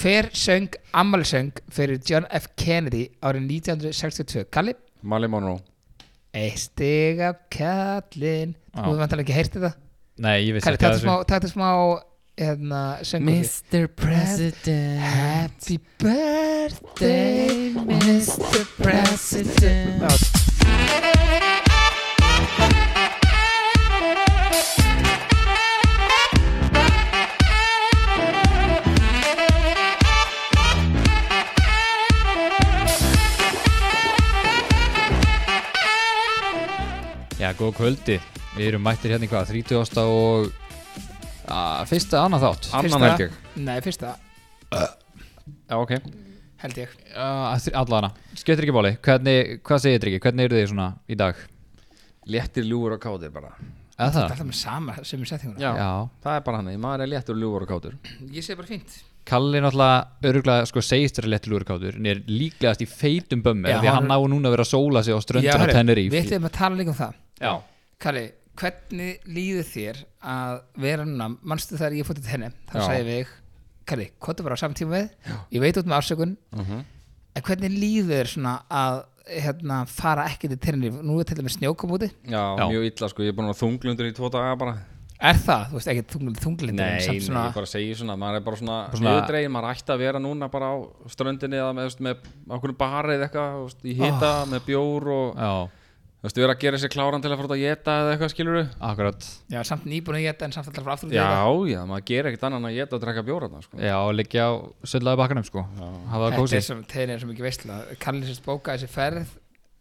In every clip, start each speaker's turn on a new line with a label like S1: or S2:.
S1: Hver söng ammálsöng fyrir John F. Kennedy árið 1962? Kalli?
S2: Mali Monroe
S1: Eitt stig af kallin
S3: Já.
S1: Þú hefur vantanlega ekki heyrti það
S3: Nei, ég vissi
S1: Kalli,
S3: ekki
S1: takk smá, taktu smá hérna, söngur
S3: Mr. President
S1: Happy birthday Mr. President Já,
S3: Já, góð kvöldi Við erum mættir hérna í hvað, 30. og að, Fyrsta annað þátt
S2: Annan
S1: Fyrsta.
S2: held ég
S1: Nei, fyrsta
S2: Já, ok
S1: held ég
S3: uh, Allana, skjöttir ekki bóli Hvernig, Hvað segir þetta ekki, hvernig eru þið svona í dag?
S2: Léttir ljúfur og kátir bara
S3: Eða
S1: Það er
S3: það?
S1: alltaf með sama sem við setjum
S2: Já.
S3: Já
S2: Það er bara hann, maður er léttur ljúfur og kátur
S1: Ég segi bara fínt
S3: Kalli náttúrulega öruglega sko segist þér að letta lúrkátur en er líklegast í feitum bömmu
S1: Já,
S3: því að
S1: hann-
S3: hann á núna að vera að sóla sig á ströndar á
S1: hörru, Við
S3: Tenerife
S1: ætlum að tala líka um það
S3: Já,
S1: Kalli, hvernig líður þér að vera núna, manstu þar ég fótt til henni þá
S2: Já.
S1: sagði við, Kalli, hvað það bara á samtíma með ég veit út með ásökun
S2: Mhm.
S1: en hvernig líður þér svona að hérna, fara ekki til Tenerife nú er til dæmis snjókum úti
S2: Já,
S3: Já.
S2: mjög illa sko, ég er búin að þunglundur í tvo daga bara
S1: er það, þú veist, ekkert þunglindur þunglindur en samt
S2: ég
S1: svona,
S2: bara segi svona, maður er bara svona
S3: svona-
S2: Yðdregin, maður ætti að vera núna bara á ströndinni eða með, þú veist, með okkur barið eitthvað þú veist, Í hita, með bjór og
S3: já,
S2: Þú veist, vera að gera sér kláran til að fara út að geta eða eitthvað skilur
S3: akkurat
S1: já, samt nýbúin að geta en samt alltaf frá aftur út í
S2: Já,
S1: þetta.
S2: já, maður gerir ekkert annan en að geta og drekka bjóra þarna sko.
S3: Já, liggja á söllaði bakkanum sko hafa það
S1: þetta er
S3: kósi
S1: sem Tenerife sem ekki veistla Kalli sem bókaði þessi ferð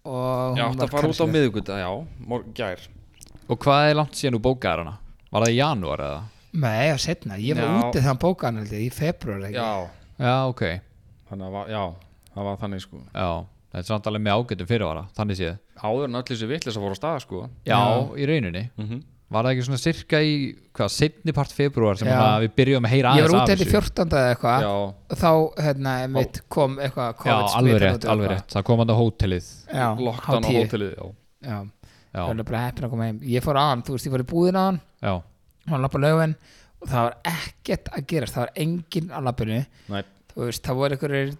S1: og
S2: Já,
S1: hún
S2: átt
S1: var
S2: að fara út á
S1: canceluð.
S2: miðugut, já, mor, gær
S3: Og hvað er langt síðan þú bókaðir hana? Var það í janúar eða?
S1: Nei, já, setna, ég var
S2: Já.
S1: úti þegar hann bókaði hann held ég, í februar
S2: Já,
S3: Já, ok,
S2: þannig að, va- já, það var þannig sko
S3: já Það er samt alveg með ágættum fyrirvara, þannig séð
S2: Áður en öll þessi vitlis að fóra á stað sko
S3: Já, í rauninni
S2: Mhm.
S3: Var það ekki svona sirka í, hvað, setni part februar sem
S1: Já.
S3: að við byrjum að heyra
S1: Ég
S3: aðeins
S1: var út
S3: af
S1: þetta í 14. eða eitthvað
S2: Já,
S1: og þá hérna, mitt kom eitthvað
S3: Já,
S1: COVID
S3: alveg
S1: smitar
S3: rétt,
S1: út og
S3: alveg
S1: eitthvað.
S3: rétt Það kom hann á hótelið
S1: Já,
S2: loktan
S1: hálf
S2: á
S1: tíu.
S2: hótelið já.
S1: Já,
S3: Já,
S1: það var bara heppin að koma heim Ég fór aðan, þú veist, ég fór í búðin aðan
S3: já,
S1: hann lappa lögin og það var ekkert að gerast, það var enginn á lappinu
S2: Nei,
S1: þú veist, það voru einhverjir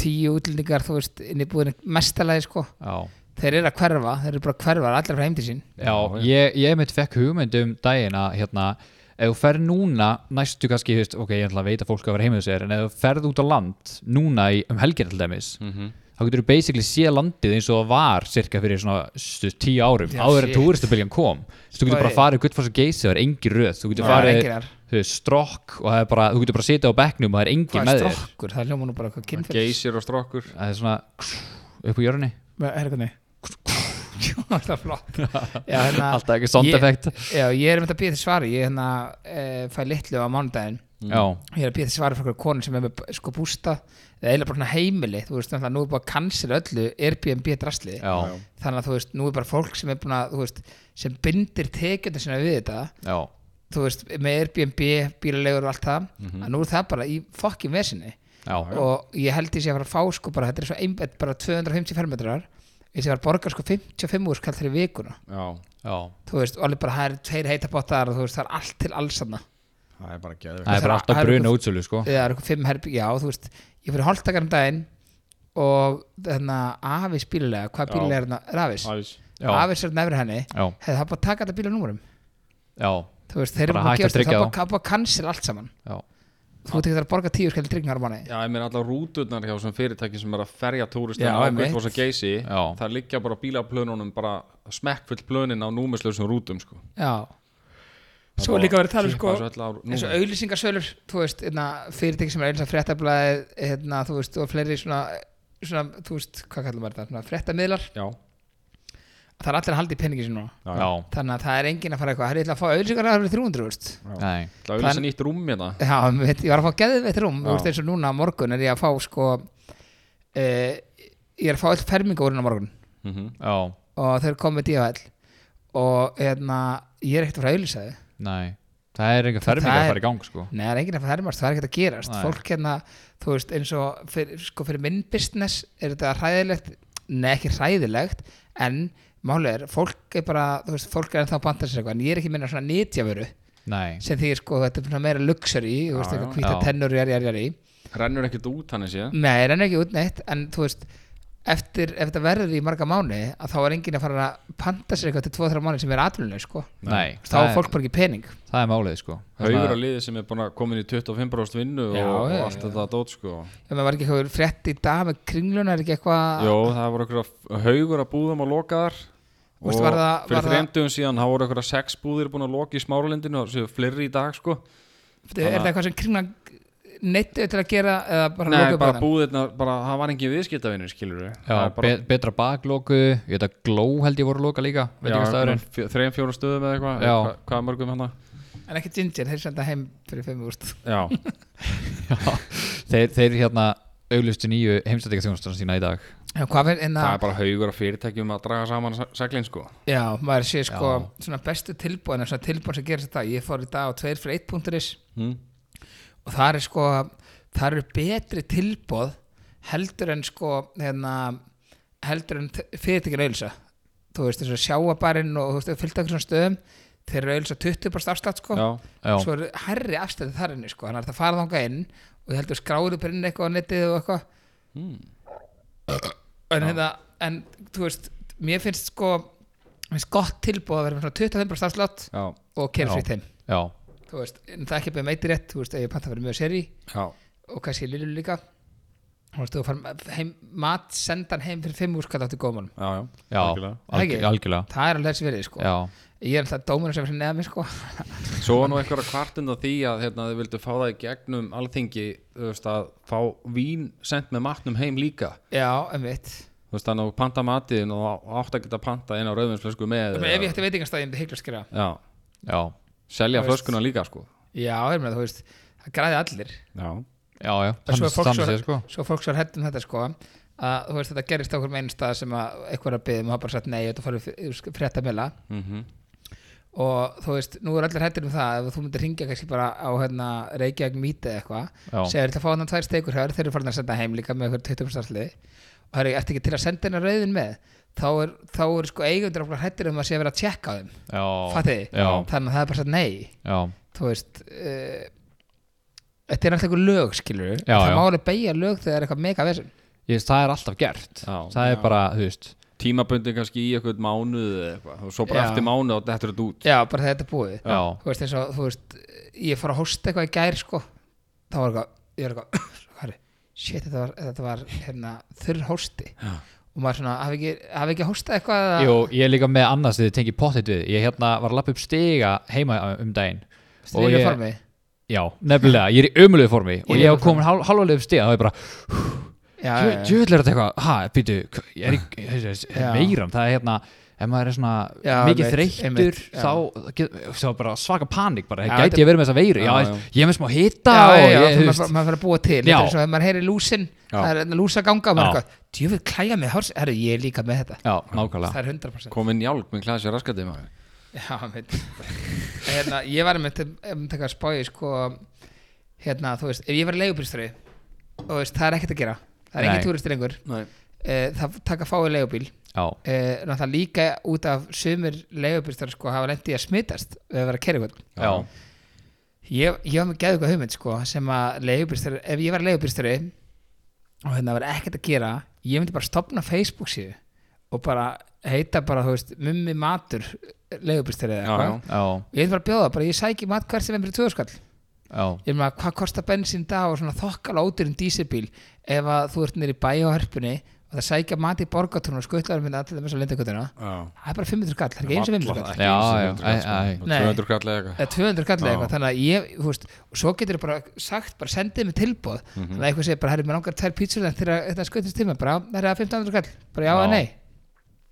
S1: tíu útlendingar, þú veist, inn í búðinu mestalagi, sko,
S3: já
S1: þeir eru að hverfa þeir eru bara að hverfa, allir frá heim til sín
S3: Já,
S2: Já,
S3: ég, ég mitt fekk hugmynd um daginn að hérna, ef þú ferð núna næstu kannski, þú veist, ok, ég ætla að veit að fólk að vera heimið sér, en ef þú ferð út á land núna í, um helgin til dæmis
S2: Mhm.
S3: þá getur þú basically sé landið eins og það var cirka fyrir svona stu, tíu árum
S1: Já,
S3: áður en
S1: shit.
S3: túristabiljan kom Þú veist, þú getur bara
S1: Oi.
S3: að fara í Guttfoss og Geysi, það er engi röð þú getur
S1: Það er
S3: farið,
S1: engin þar.
S3: þú veist, strokk og það er bara, þú getur bara að sitja á bekknum og það er engi
S1: hvað
S3: með
S1: er
S3: þér
S1: strokkur, það er hljóma nú bara eitthvað kynfyrst
S2: geysir og strokkur
S3: það er svona upp á jörni
S1: herrkunni það er flott já, hérna,
S3: alltaf ekki sound
S1: ég-
S3: effect
S1: Já, ég er um þetta að býða til svari Ég hérna, e, fæ litlu á mánudaginn
S3: já,
S1: Ég er að býða til svari frá einhverju konu sem er með sko bústa eða eiginlega bara svona heimili Þú veist, þannig að nú er búið að cancela öllu Airbnb drasli
S3: já,
S1: Þannig að þú veist, nú er bara fólk sem er búin að þú veist, sem bindir tekjönda sinna við þetta
S3: já,
S1: þú veist, með Airbnb, bílalegur og allt það að nú er það bara í fokkin vesinni
S3: já,
S1: og ég held ég sé að fara að fá sko bara, þetta er svo ein, þetta er bara 250 fermetrar ég sé að fara að borga sko 55 úr skall þeirri vikuna
S2: Já,
S3: já.
S1: þú veist, og alveg bara það er tveir heitabottar og þú veist, það er allt til alls þarna
S2: það er bara geður
S3: það er bara alltaf
S1: það er
S3: bruna
S1: eitthvað-
S3: útsölu sko.
S1: eða það eru eitthvað fimm herbyggja já, þú veist, ég fyrir hálftakar um daginn og þannig að Avis bílulega hvað
S2: Já.
S1: bílulega er þarna, er Avis?
S2: Ævis
S3: Já.
S1: Avis er nefnir henni
S3: já,
S1: hefði það bara að taka þetta bíl á númurum
S3: já,
S1: þú veist, þeir eru
S3: Bara
S1: búin að
S3: hægt að
S1: gefast upp, það
S3: tryggja
S1: er
S3: þá.
S1: bara- það er bara að cancel allt saman
S3: já,
S1: þú tekir það að borga tíu skall tryggingar á manni
S2: Já, ég meina allar rúturnar hjá sem fyrirtæki sem er að ferja túristan
S1: Já,
S2: á
S1: einmitt.
S2: Gullfoss og Geysi
S3: Já.
S2: Það liggja bara bílaplönunum bara smekkfullt plönin á númislausum rútum sko.
S1: já svo er líka verið að tala um sko eins og
S2: sko
S1: auðlýsingarsölur þú veist, hérna, fyrirtæki sem er auðlýsa fréttablaði hérna, þú veist, og fleiri svona, svona þú veist, hvað kallar maður þetta svona, fréttamiðlar,
S2: Já,
S1: það er allir að halda í penningi sinna núna.
S2: já,
S3: já,
S1: þannig að það er enginn að fara eitthvað, það er eitthvað að fá auðlýsingar að það eru 300, þú veist
S3: nei,
S2: Það er auðvitað nýtt rúm hérna
S1: já, mitt, ég var að fá geðveitt rúm,
S2: Já.
S1: þú veist, eins og núna á morgun er ég að fá sko e, ég er að fá all fermingurinn á morgun
S2: Mhm.
S3: já,
S1: og þeir komið díðvæl og hérna, ég er ekkert að fara að auðlýsa þau
S3: nei það er einhver
S1: Það-
S3: fermingar
S1: það
S3: að
S1: er-
S3: fara í gang sko.
S1: Nei, það er enginn að fermast, það er ekkert að gerast
S3: Nei.
S1: Fólk hérna, þú veist, eins og fyrir, sko, fyrir minn business er þetta hræðilegt Nei, ekki hræðilegt En málið er, fólk er bara þú veist, fólk er ennþá að banta sér eitthvað En ég er ekki minna svona nýtjavöru
S3: nei,
S1: sem því, sko, þetta er svona meira luxury Þú veist,
S2: Já,
S1: eitthvað
S2: já.
S1: hvíta
S3: Já.
S1: tennur, jari, jari, jari
S2: rennur ekkert út hann sé
S1: Nei, ég renna ekki út neitt en þú veist, eftir, ef þetta verður í marga mánu að þá er enginn að fara að panta sér eitthvað til 2-3 mánu sem er atvinnuleg sko.
S3: Nei,
S1: þá
S3: það
S1: er
S3: er-
S1: fólk bara ekki pening
S3: það er málið sko
S2: haugur á liði sem er búin að koma inn í 25% vinnu
S1: Já,
S2: og,
S1: já,
S2: og allt
S1: já.
S2: þetta dót sko
S1: ef maður var ekki eitthvað frétt í dag með kringluna er ekki eitthvað
S2: Jó, það voru okkur haugur að búðum að loka þar
S1: Þú
S2: og
S1: veist, var það- var
S2: fyrir
S1: það-
S2: þreymdugum síðan þá voru okkur að sex búðir búin að loka í smáralindinu og séu fleiri í dag sko
S1: er þetta eitthvað sem kringlan neittu til að gera eða bara
S2: Nei,
S1: lokuðu
S2: bara
S1: bara
S2: búðirna, bara, það var engin viðskiptavinur skilur við
S3: Já, be betra bakloku, ég veit að gló held ég voru loka líka, veit ekki staðurinn
S2: þreim fjóra stöðum eða eitthvað
S3: Já.
S2: eða hva, hvað er mörgum hérna? hann
S1: en ekki Ginger, þeir senda heim fyrir 5 úrst
S2: já,
S3: þeir, þeir hérna auðlustu nýju heimstættingaþjónastunum sína í dag
S1: hvað er en
S2: það er
S1: að
S2: bara haugur af fyrirtækjum að draga saman sa- seglin sko
S1: já, maður sé sko svona bestu tilbúin svona tilbúin sem gerir þetta ég fór í dag á 2 fyrir 1.is
S2: hm?
S1: og það er sko það eru betri tilbúð heldur en sko hérna, heldur en fyrirtækir auðlisa þú veist þess að sjáabarinn og þú veist fylgta okkur svona stöðum þeir eru auðlisa 20% afslátt sko
S2: já,
S3: Já,
S1: svo eru herri afstæði þar inni sko þannig að það fara þangað inn og ég heldur skráðu bara inn eitthvað á netið og eitthvað
S3: Hmm.
S1: en, hérna, en þú veist, mér finnst sko mér finnst gott tilbúið að vera með svona 25% afslátt
S2: já,
S1: og kera frýtt
S3: Já.
S1: heim
S3: já,
S1: þú veist, en það er ekki beðið meiti rétt þú veist, ef ég panta fyrir mjög seri
S2: já,
S1: og kannski lillu líka þú veist, þú fær heim, mat sendan heim fyrir 5 úrskall áttu góðmálum
S2: já, já,
S3: já,
S2: algjörlega.
S1: Ekki?
S3: algjör, algjörlega
S1: það er alveg þessi verið sko
S3: Já,
S1: ég er alltaf dómurinn sem er fyrir neða mér sko
S2: svo var nú einhverja kvartund á því að hérna, þau vildu fá það í gegnum alþingi þú veist, að fá vín sendt með matnum heim líka
S1: já, emmitt
S2: þú veist, þannig að þú panta matiðin og þá átt að geta panta inn á rauðvinsflösku með
S1: ef ég ætti veitingastæðin, þetta er heiklust skera
S2: já,
S3: já,
S2: selja
S1: Þú veist.
S2: flöskuna líka sko
S1: já, ég meina, þú veist, það græði allir
S2: já,
S3: já, já
S1: En svo er fólk
S3: Þannig
S1: svo-
S3: séð sko
S1: svo fólk svar hættum þetta sko að þú veist þetta gerist á okkur með einn stað sem að eitthvað er að byggja, maður bara sagt nei þetta farið frétta meila
S2: mhm
S1: og þú veist, nú er allir hættir um það ef þú myndir ringja kannski bara á hérna Reykjavík mítið eða eitthvað
S3: Já.
S1: segir þetta að fá hann tvær steikur hér, þeir eru farin að senda heim líka með eitthvað 20 starfli og það er ekki til að senda hennar rauðin með þá er, þá er sko eigundur okkur hættir um að sé að vera að tjekka á þeim
S3: Já,
S1: fattiði,
S3: Já.
S1: þannig að það er bara sagt nei
S3: já,
S1: þú veist uh, þetta er alltaf einhver lög skilur
S3: Já,
S1: það
S3: já.
S1: má alveg beigja lög þegar það er eitthvað mega vesum
S3: ég veist, það er alltaf gert
S2: Já.
S3: Það er
S2: Já.
S3: bara, þú veist
S2: tímabundin kannski í eitthvað mánuð eða eitthvað og svo bara
S1: Já.
S2: eftir mánuð og þetta er þetta út
S1: Já, bara þegar þetta er búið
S3: Já,
S1: Þú veist eins og, þú veist, ég fór að hósta eitthvað í gær sko þá var eitthvað, ég var eitthvað hvað er, shit, þetta var, þetta var hérna, þurr hósti Já. og maður svona, hafi ekki, hafi ekki hóstað eitthvað eða-
S3: Jú, ég er líka með annars þegar þið tengi pottit við Ég hérna var að lappa upp stiga heima um daginn
S1: Þú
S3: og
S1: veist,
S3: ég-
S1: ég formi
S3: Já, nefnilega, ég er í ömulegu formi og
S1: Ég
S3: ég
S1: er
S3: hef komin hál, hálfalegu upp stiga þá er ég bara,
S1: Já, já, já.
S3: djöðlega er þetta eitthvað ha, býtu, hva- ég er í ég- ég-
S1: Já.
S3: ég- meiram, það er hérna ef maður er svona
S1: Já,
S3: mikið
S1: einmitt,
S3: þreyttur
S1: einmitt, já.
S3: þá, get- þá er bara svaka panik bara,
S1: Já,
S3: gæti
S1: þetta-
S3: ég verið með þessa veiru já,
S2: Já,
S3: já.
S2: já.
S3: ég er með smá hita
S1: Já,
S3: og
S1: já, já,
S3: ég,
S1: þú
S3: þú
S1: veist, maður fyrir að búa til
S3: Já.
S1: þetta er svo ef maður heyri lúsin,
S2: Já.
S1: það er hérna lúsaganga og maður eitthvað, djöfuð klæja mig hárs herru, ég er líka með þetta,
S3: já, nákvæmlega
S1: það er 100%
S2: komin hjálp með klæða sér raskatið maður
S1: Já, veit hérna, Ég var með þetta að spáði sko, hérna, þú veist, ef ég var leigubílstjóri og þú veist, það er ekkert að gera það er
S3: Nei.
S1: engin túristir lengur
S2: Nei.
S1: Eh, það taka fáið leigubíl
S3: já,
S1: Eh, náttúrulega líka út af sumir leigubílstjóri sko hafa lent í að smitast við að vera að kerja ykkur
S3: já,
S1: ég, ég var með geðu eitthvað hugmynd sko sem að leigubílstjóri, ef ég var leigubílstjóri og hérna var ekkert að gera ég myndi bara stopna Facebook síðu og bara heita bara, þú veist, mummi matur eh, leigubílstjóri eða
S2: Já,
S1: eitthvað
S2: já.
S3: já,
S1: ég vil bara bjóða, bara ég sæki mat hvert sem er fyrir tvöskall
S3: já,
S1: ég meina, hvað kostar bensín í dag og svona þokkala ódýrin dísibíl ef að þú ert nýri bæ á herpunni og það sækja mat í borgatún og skuttlarum minna til þess að lindakotuna
S2: Já.
S1: það er bara 500 skall, það er ekki eins og 500 skall
S2: Varla,
S3: Já,
S2: ekki
S3: já,
S2: eins og 200 kall, sko.
S3: æ, æ.
S1: Nei.
S2: 200 kall eða eitthvað
S1: eða 200 skall eða
S2: Já.
S1: eitthvað, þannig að ég, þú veist og svo getur bara sagt, bara sendið mig tilbúð þannig að eitthvað segir bara, herri, mér langar tvær pítsur en þegar þetta skuttist tíma, bara, herri, að 1500 skall bara já
S3: Já.
S1: eða nei,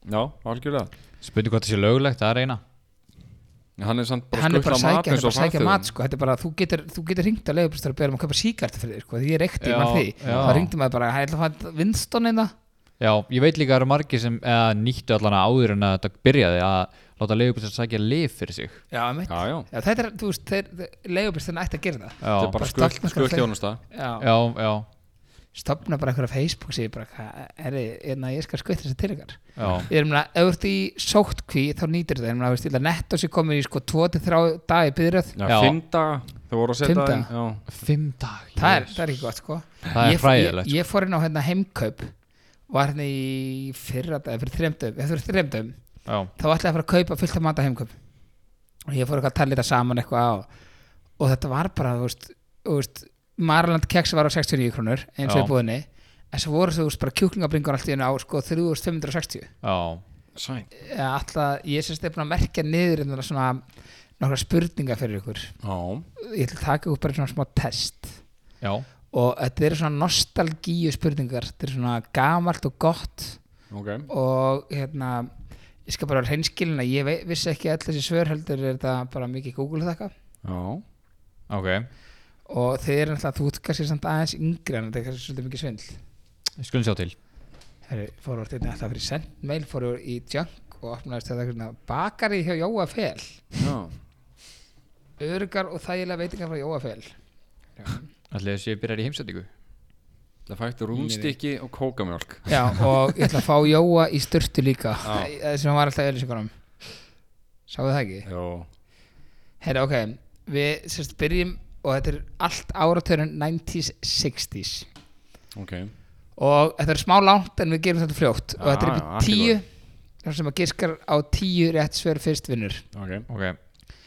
S2: já, algjörlega
S3: spurning hvað það sé löglegt það er eina,
S2: En hann er samt bara
S1: hann er bara
S2: skutla
S1: að
S2: mat
S1: sækja, hann
S2: eins
S1: er
S2: og
S1: bara að sækja
S2: farþegum.
S1: mat sko, þetta er bara, þú getur, þú getur ringt að leiðupistur og beðum að köpa síkart fyrir þér, sko, því ég reykti,
S3: Já,
S1: ég mann því
S3: já.
S1: þá ringdi maður bara, hæ, ætla að fara vinston einna
S3: já, ég veit líka að það eru margir sem eða, nýttu allan að áður en að þetta byrjaði að láta leiðubilsar sækja lif fyrir sig
S1: já, mitt,
S2: já, já,
S1: já, þetta er, þú veist, þeir leiðupisturinn ætti að gera það
S2: þetta
S3: já,
S2: er
S1: Bara
S2: bara
S1: stallmarkað
S2: skutl þjónusta
S1: já,
S3: já, já,
S1: stopna bara einhverja Facebook síðu bara, hvað er þið, ég skal skvita þessi til ykkar
S3: já,
S1: ég er meina, ef þú ert í sóttkví þá nýtir þetta, ég meina, þú veist, ég ætla netto sér komin í sko 2-3 dagi byrjöð
S2: Já,
S3: Já.
S2: fimm daga, þau voru að setja
S1: Fimm
S2: inn- já.
S3: fimm dag
S1: það er, það er ekki gott sko ég,
S3: það er hræðilegt sko.
S1: ég, ég fór inn á hérna heimkaup var hérna í fyrra dag, fyrir þreymdum eða fyrir þreymdum,
S3: já,
S1: þá ætlaði að fara að kaupa fullt af mat á heimkaup og ég fór eitthvað að tala þetta saman eitthvað á og þetta var bara, þú veist, þú veist Marland keks var á 69 krónur eins og
S3: Já.
S1: í búðinni, en svo voru þú veist bara kjúklingabringur allt í hennu á sko 3560
S3: já,
S2: Sæt
S1: alltaf, ég sérst er búin að merkja niður einhverja svona nokkra spurninga fyrir ykkur
S2: Já,
S1: ég ætla að taka ykkur bara svona smá test
S3: já,
S1: og þetta eru svona nostalgíu spurningar þetta eru svona gamalt og gott
S2: ok
S1: og hérna ég skal bara reynskilina, ég vei, vissi ekki öll þessi svör heldur er þetta bara mikið Google þakka
S2: Já,
S3: ok
S1: og þeir eru náttúrulega, þú ert kannski samt aðeins yngri en þetta er kannski svolítið mikið svindl
S3: við skulum sjá til
S1: Herri, fóru hérna, orðið þetta fyrir send mail, fóru í junk og opnaðist þetta hérna bakari hjá Jóa Fel
S2: já
S1: örugar og þægilega veitingar frá Jóa Fel
S3: allir þess að ég byrjar í heimsendingu
S2: Það fætti rúnstykki og kókamjólk
S1: Já, og ég ætla að fá Jóa í styrtu líka Það sem hann var alltaf öllisingunum Sáðu það ekki?
S2: Já,
S1: Herra, ok, við sérst byrjum og þetta er allt áratörun 90s, 60s
S2: ok
S1: og þetta er smá langt en við gerum þetta fljótt og
S2: Já,
S1: þetta er
S2: já,
S1: upp í
S2: allt í
S1: tíu þar sem að giskar á tíu rétt sver fyrst vinnur
S2: Ok,
S3: ok,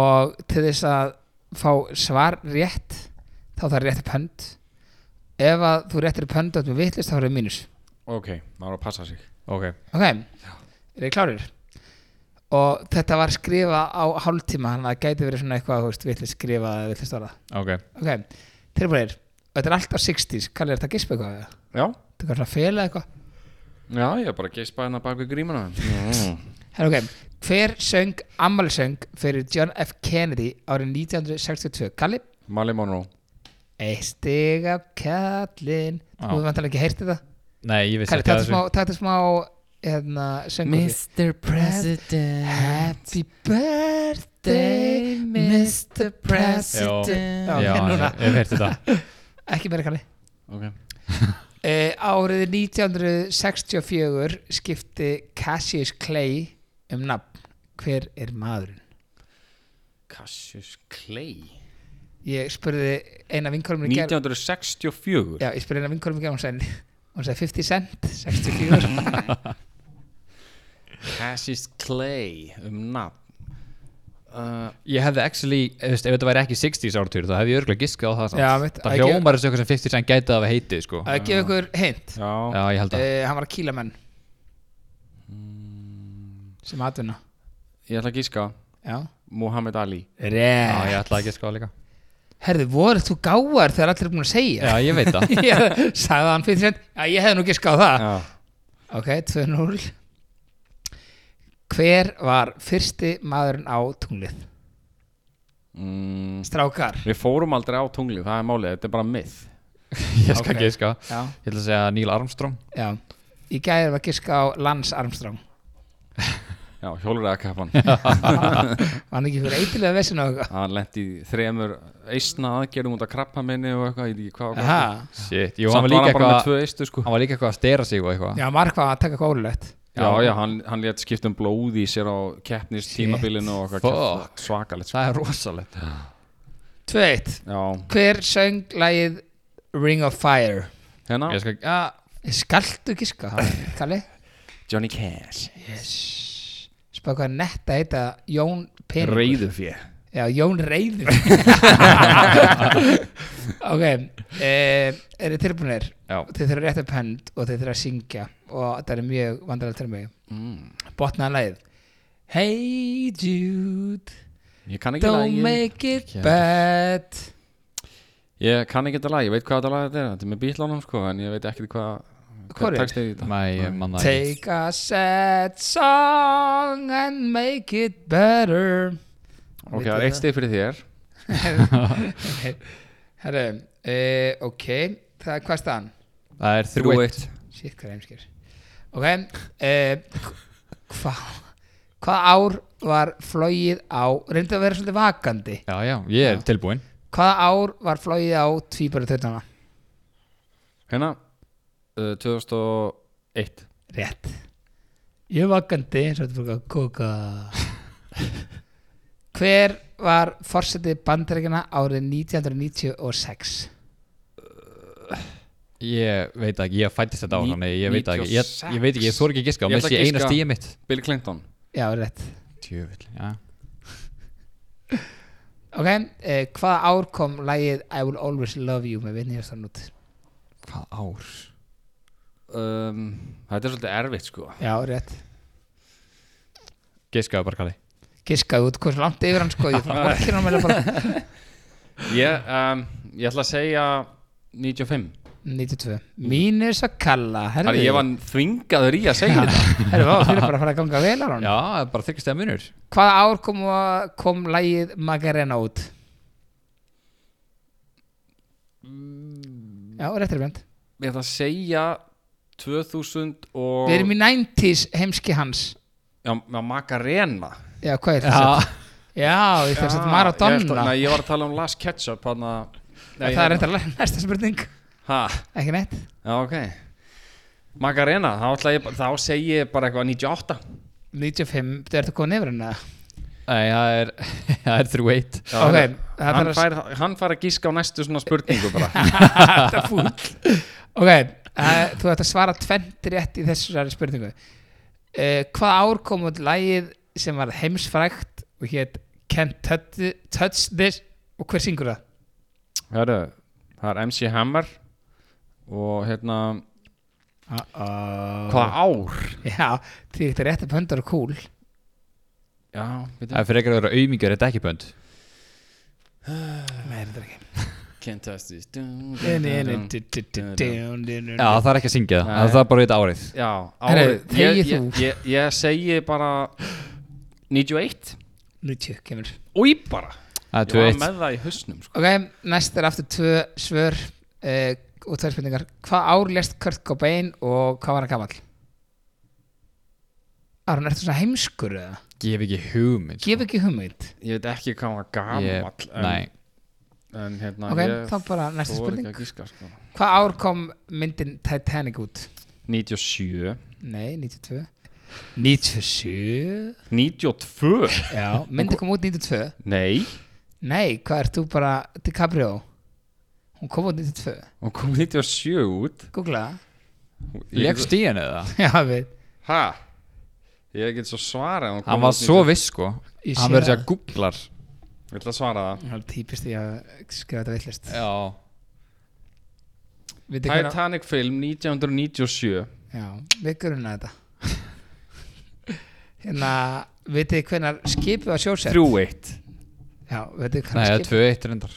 S1: og til þess að fá svar rétt þá það er rétt upp hönd ef að þú réttir upp hönd og þetta er vitlist þá er það mínus
S2: ok, maður á að passa sig
S3: ok
S1: Ok, er þið klárir? Og þetta var skrifað á hálftíma þannig að það gæti verið svona eitthvað, þú veist, villist skrifað eða villist orða.
S3: ok,
S1: Ok, tilbúinir, þetta er alltaf 60s, kallir þetta gispa eitthvað eða?
S2: Já,
S1: Þetta er svona fela eitthvað?
S2: já, ég er bara að geispa hérna bak við grímuna Já,
S1: Herra ok, hver söng ammálsöng fyrir John F. Kennedy árið 1962? Kalli,
S2: Mali Monroe
S1: eitt stig af kallin,
S3: Já.
S1: þú hefur vantilega ekki heyrt þetta?
S3: nei, ég vissi
S1: Kalli,
S3: ekki
S1: takk
S3: að
S1: þetta smá, takk þetta smá, hérna, söngur því. Happy birthday, Mr. President
S3: Já,
S1: ok,
S3: já,
S1: núna.
S3: ég hef heyrt þetta
S1: Ekki meira kalli
S2: Ok
S1: uh, Árið 1964 skipti Cassius Clay um nafn Hver er maðurinn?
S2: Cassius Clay
S1: Ég spurði eina vinkonum í gerð
S2: 1964
S1: Já, ég spurði eina vinkonum í gerð Hún sagði, hún sagði 50 cent, 64
S2: Cassius Clay um nafn uh,
S3: ég hefði actually, þú veist, ef þetta væri ekki 60s ártur þá hefði ég örgulega giskað á það samt
S1: Já, mitt,
S3: það
S1: að
S3: hljómar þessu eitthvað sem 50 sem gæti að hafa heitið sko.
S1: Að gefa ykkur hint uh,
S2: Já,
S3: já, ég held að
S1: Hann var að kýla menn Sem atvinna
S2: ég ætla að gíska
S1: Já
S2: Muhammad Ali
S3: já, ég
S1: Rétt
S3: ætla að giska á það líka
S1: Herðu, voru þú gáar þegar allir er búin að segja
S3: já, ég veit það
S1: Ég sagði hann 50 cent Já, ég hefði nú giskað á það
S2: Já,
S1: Ok, 2-0 Hver var fyrsti maðurinn á tunglið?
S2: mm,
S1: Strákar
S2: Við fórum aldrei á tunglið, það er málið, þetta er bara myth
S3: ég skal
S1: Ok.
S3: okay. giska,
S1: Já,
S3: ég ætla að segja Neil Armstrong
S1: já Í gæði var giska á Lance Armstrong
S2: Já, hjóluræðakafan
S1: Var hann ekki fyrir eitilega vesinu og eitthvað?
S2: Hann lendi í þremur eistna aðgerðum út af krabba minni og eitthvað, ég veit ekki hvað og hvað.
S1: Aha.
S3: shit, jú, hann
S2: Samt
S3: var
S2: var
S3: líka
S2: hann bara með
S3: eitthvað
S2: tvö eistu sko
S3: hann var líka eitthvað að stera sig og eitthvað
S1: Já, Mark var að taka eitthvað ólulegt
S2: Já, já, hann, hann létt skipt um blóð í sér á keppnist tímabilinu og eitthvað
S3: Fuck.
S2: kjaft- svakalegt sko.
S3: það er rosalegt
S1: 2-1
S2: Já,
S1: Hver söng lagið Ring of Fire?
S2: hérna
S3: ég skal, já,
S1: Skaltu giska, ha? Kalli?
S2: Johnny Cash
S1: Yes Spá hvað er netta heita Jón Peningur
S2: Reyðufjö
S1: Já, Jón Reyður Ok eh, Eru tilbúinir?
S3: Já.
S1: Þeir þurfa rétt upp hönd og þeir þurfa að syngja og þetta er mjög vandralegt fyrir mig
S2: mm.
S1: Botnaði lagið Hey Jude
S2: Ég kann ekki
S1: Don't
S2: lagi
S1: make it
S3: Ekki heldur.
S1: bad
S2: Ég kann ekki þetta lag, ég veit hvað þetta lag þetta er Þetta er með bítlánum sko, en ég veit ekki hvað
S1: Hvor er?
S2: textið í þetta
S3: mæ, ég manna ekki
S1: Take a sad song and make it better
S2: Ok, það er eitt stið fyrir þér
S1: Herru, eh, ok Það er hvað er staðan?
S3: það er þrjú eitt
S1: Shit, hvað er heimskir Ok, eh, hva, hvað ár var flogið á Reyndu að vera svolítið vakandi
S3: já, já, ég er tilbúinn
S1: Hvaða ár var flogið á tvíbara törnana?
S2: Hérna, uh, 2001
S1: Rétt Ég vakandi Svartfólka kóka Hver var forsetið bandaríkjana árið 1996?
S3: Ég veit það ekki, ég fættist þetta á
S2: Ní-
S3: hann Ég veit það ekki, ég,
S2: 96.
S3: ég veit ekki, ég þor ekki að giska
S2: Ég
S3: Mér
S2: ætla að
S3: sé eina
S2: giska.
S3: stíði mitt
S2: Bill Clinton
S1: Já, rétt
S3: Tjöfull, já
S1: Ok, eh, hvaða ár kom lagið I Will Always Love You með Vinnie Hjörstan út?
S3: Hvað ár?
S2: um, Þetta er svolítið erfitt sko
S1: Já, rétt
S3: Giskaðu bara kalli
S1: Giskaði út hversu langt yfir hann sko Ég fann borkir hann meðlega bara
S2: Ég, um, ég ætla að segja 95
S1: 92 Mínus að kalla
S2: Þar
S1: Herðu,
S2: ég var þvingaður í að segja þetta
S1: herðu, vá, þér er bara að fara að ganga vel á hann
S3: Já, það er bara þryggst eða munur
S1: Hvaða ár kom, kom lagið Magarena út?
S2: Mm.
S1: Já, réttir bjönd
S2: Ég ætla að segja 2000 og
S1: Við erum í 90s heimski hans
S2: Já, já Macarena
S1: Já, hvað er þetta?
S3: Já,
S1: Já, ég þarf
S2: Já,
S1: að
S2: ég ætla-
S1: Maradona
S2: Nei, ég var að tala um Last Ketchup hann að
S1: Nei, Það er réttir næsta spurning
S2: Ha,
S1: Ekki neitt
S2: já ok Macarena, þá, ætla ég, bara- þá segi ég bara eitthvað 98
S1: 95, þú ert að koma nefra hérna
S3: nei, það er, það er 3-1
S2: Já,
S1: Ok,
S2: hann-
S1: það
S2: hann,
S1: þarf að
S2: fær, hann fær að gíska á næstu svona spurningu bara
S1: Það er fúll Ok, uh, þú ert að svara tvent rétt í þessari spurningu uh, Hvað ár kom út lagið sem var heimsfrægt og hétt Can't touch, touch This og hver syngur það?
S2: Hörru, það er MC Hammer og hérna
S1: Uh-oh.
S2: hvað ár
S1: Já, því þetta er rétt að pöndar og kúl
S2: já, við
S3: Það er fyrir ekkert að vera aumingur, þetta er ekki pönd
S1: Nei, þetta er ekki
S2: can't touch this Dun, dun, dun, dun.
S3: Já,
S1: Já,
S3: það er ekki að syngja það,
S2: Nei.
S3: það er bara þetta árið
S2: já,
S1: Herru,
S2: árið ég,
S1: þegi
S2: ég,
S1: þú.
S2: ég, ég segi bara 91
S1: 90 kemur
S2: úi bara,
S3: Það
S2: ég
S3: er
S2: var
S3: 2-1
S2: með það í hausnum sko.
S1: Ok, næst er aftur tvö svör uh, og tvær spurningar Hvað ár lest Kurt Cobain og hvað var hann gamall? Aron, ertu svona heimskur eða?
S3: Gef ekki hugmynd sko.
S1: Gef ekki hugmynd
S2: ég veit ekki hvað hann var gamall
S3: Ég-
S2: en,
S3: Nei,
S2: en hérna
S1: Ok,
S2: ég
S1: þá bara næsta
S2: fór ekki
S1: spurning
S2: að gíska sko.
S1: Hvað ár kom myndin Titanic út?
S2: 97
S1: Nei, 92 97
S2: 92
S1: Já, myndin kom út 92
S2: nei,
S1: Nei, hvað ert þú bara DiCaprio? Hún kom út 92
S2: hún kom 97 út
S1: Googla það
S3: legst í henni það
S1: Já, við
S2: Hæ? Ég get svo svarað hún kom
S3: Hann var
S2: út
S3: svo
S2: 19.
S3: viss sko
S1: Ég
S3: Hann
S1: sé
S3: verður sér
S1: það.
S3: að googlar
S2: Ég ætla að svara það
S1: Það er típist því að skrifa þetta villist
S3: Já
S1: Vitið hvernig
S2: Titanic film 1997
S1: Já, við grunna þetta Hérna, vitið hvernig skipið var sjósett?
S2: 3-1
S1: Já, vitið
S3: Nei, það
S1: hvernig
S3: er 2-1 reyndar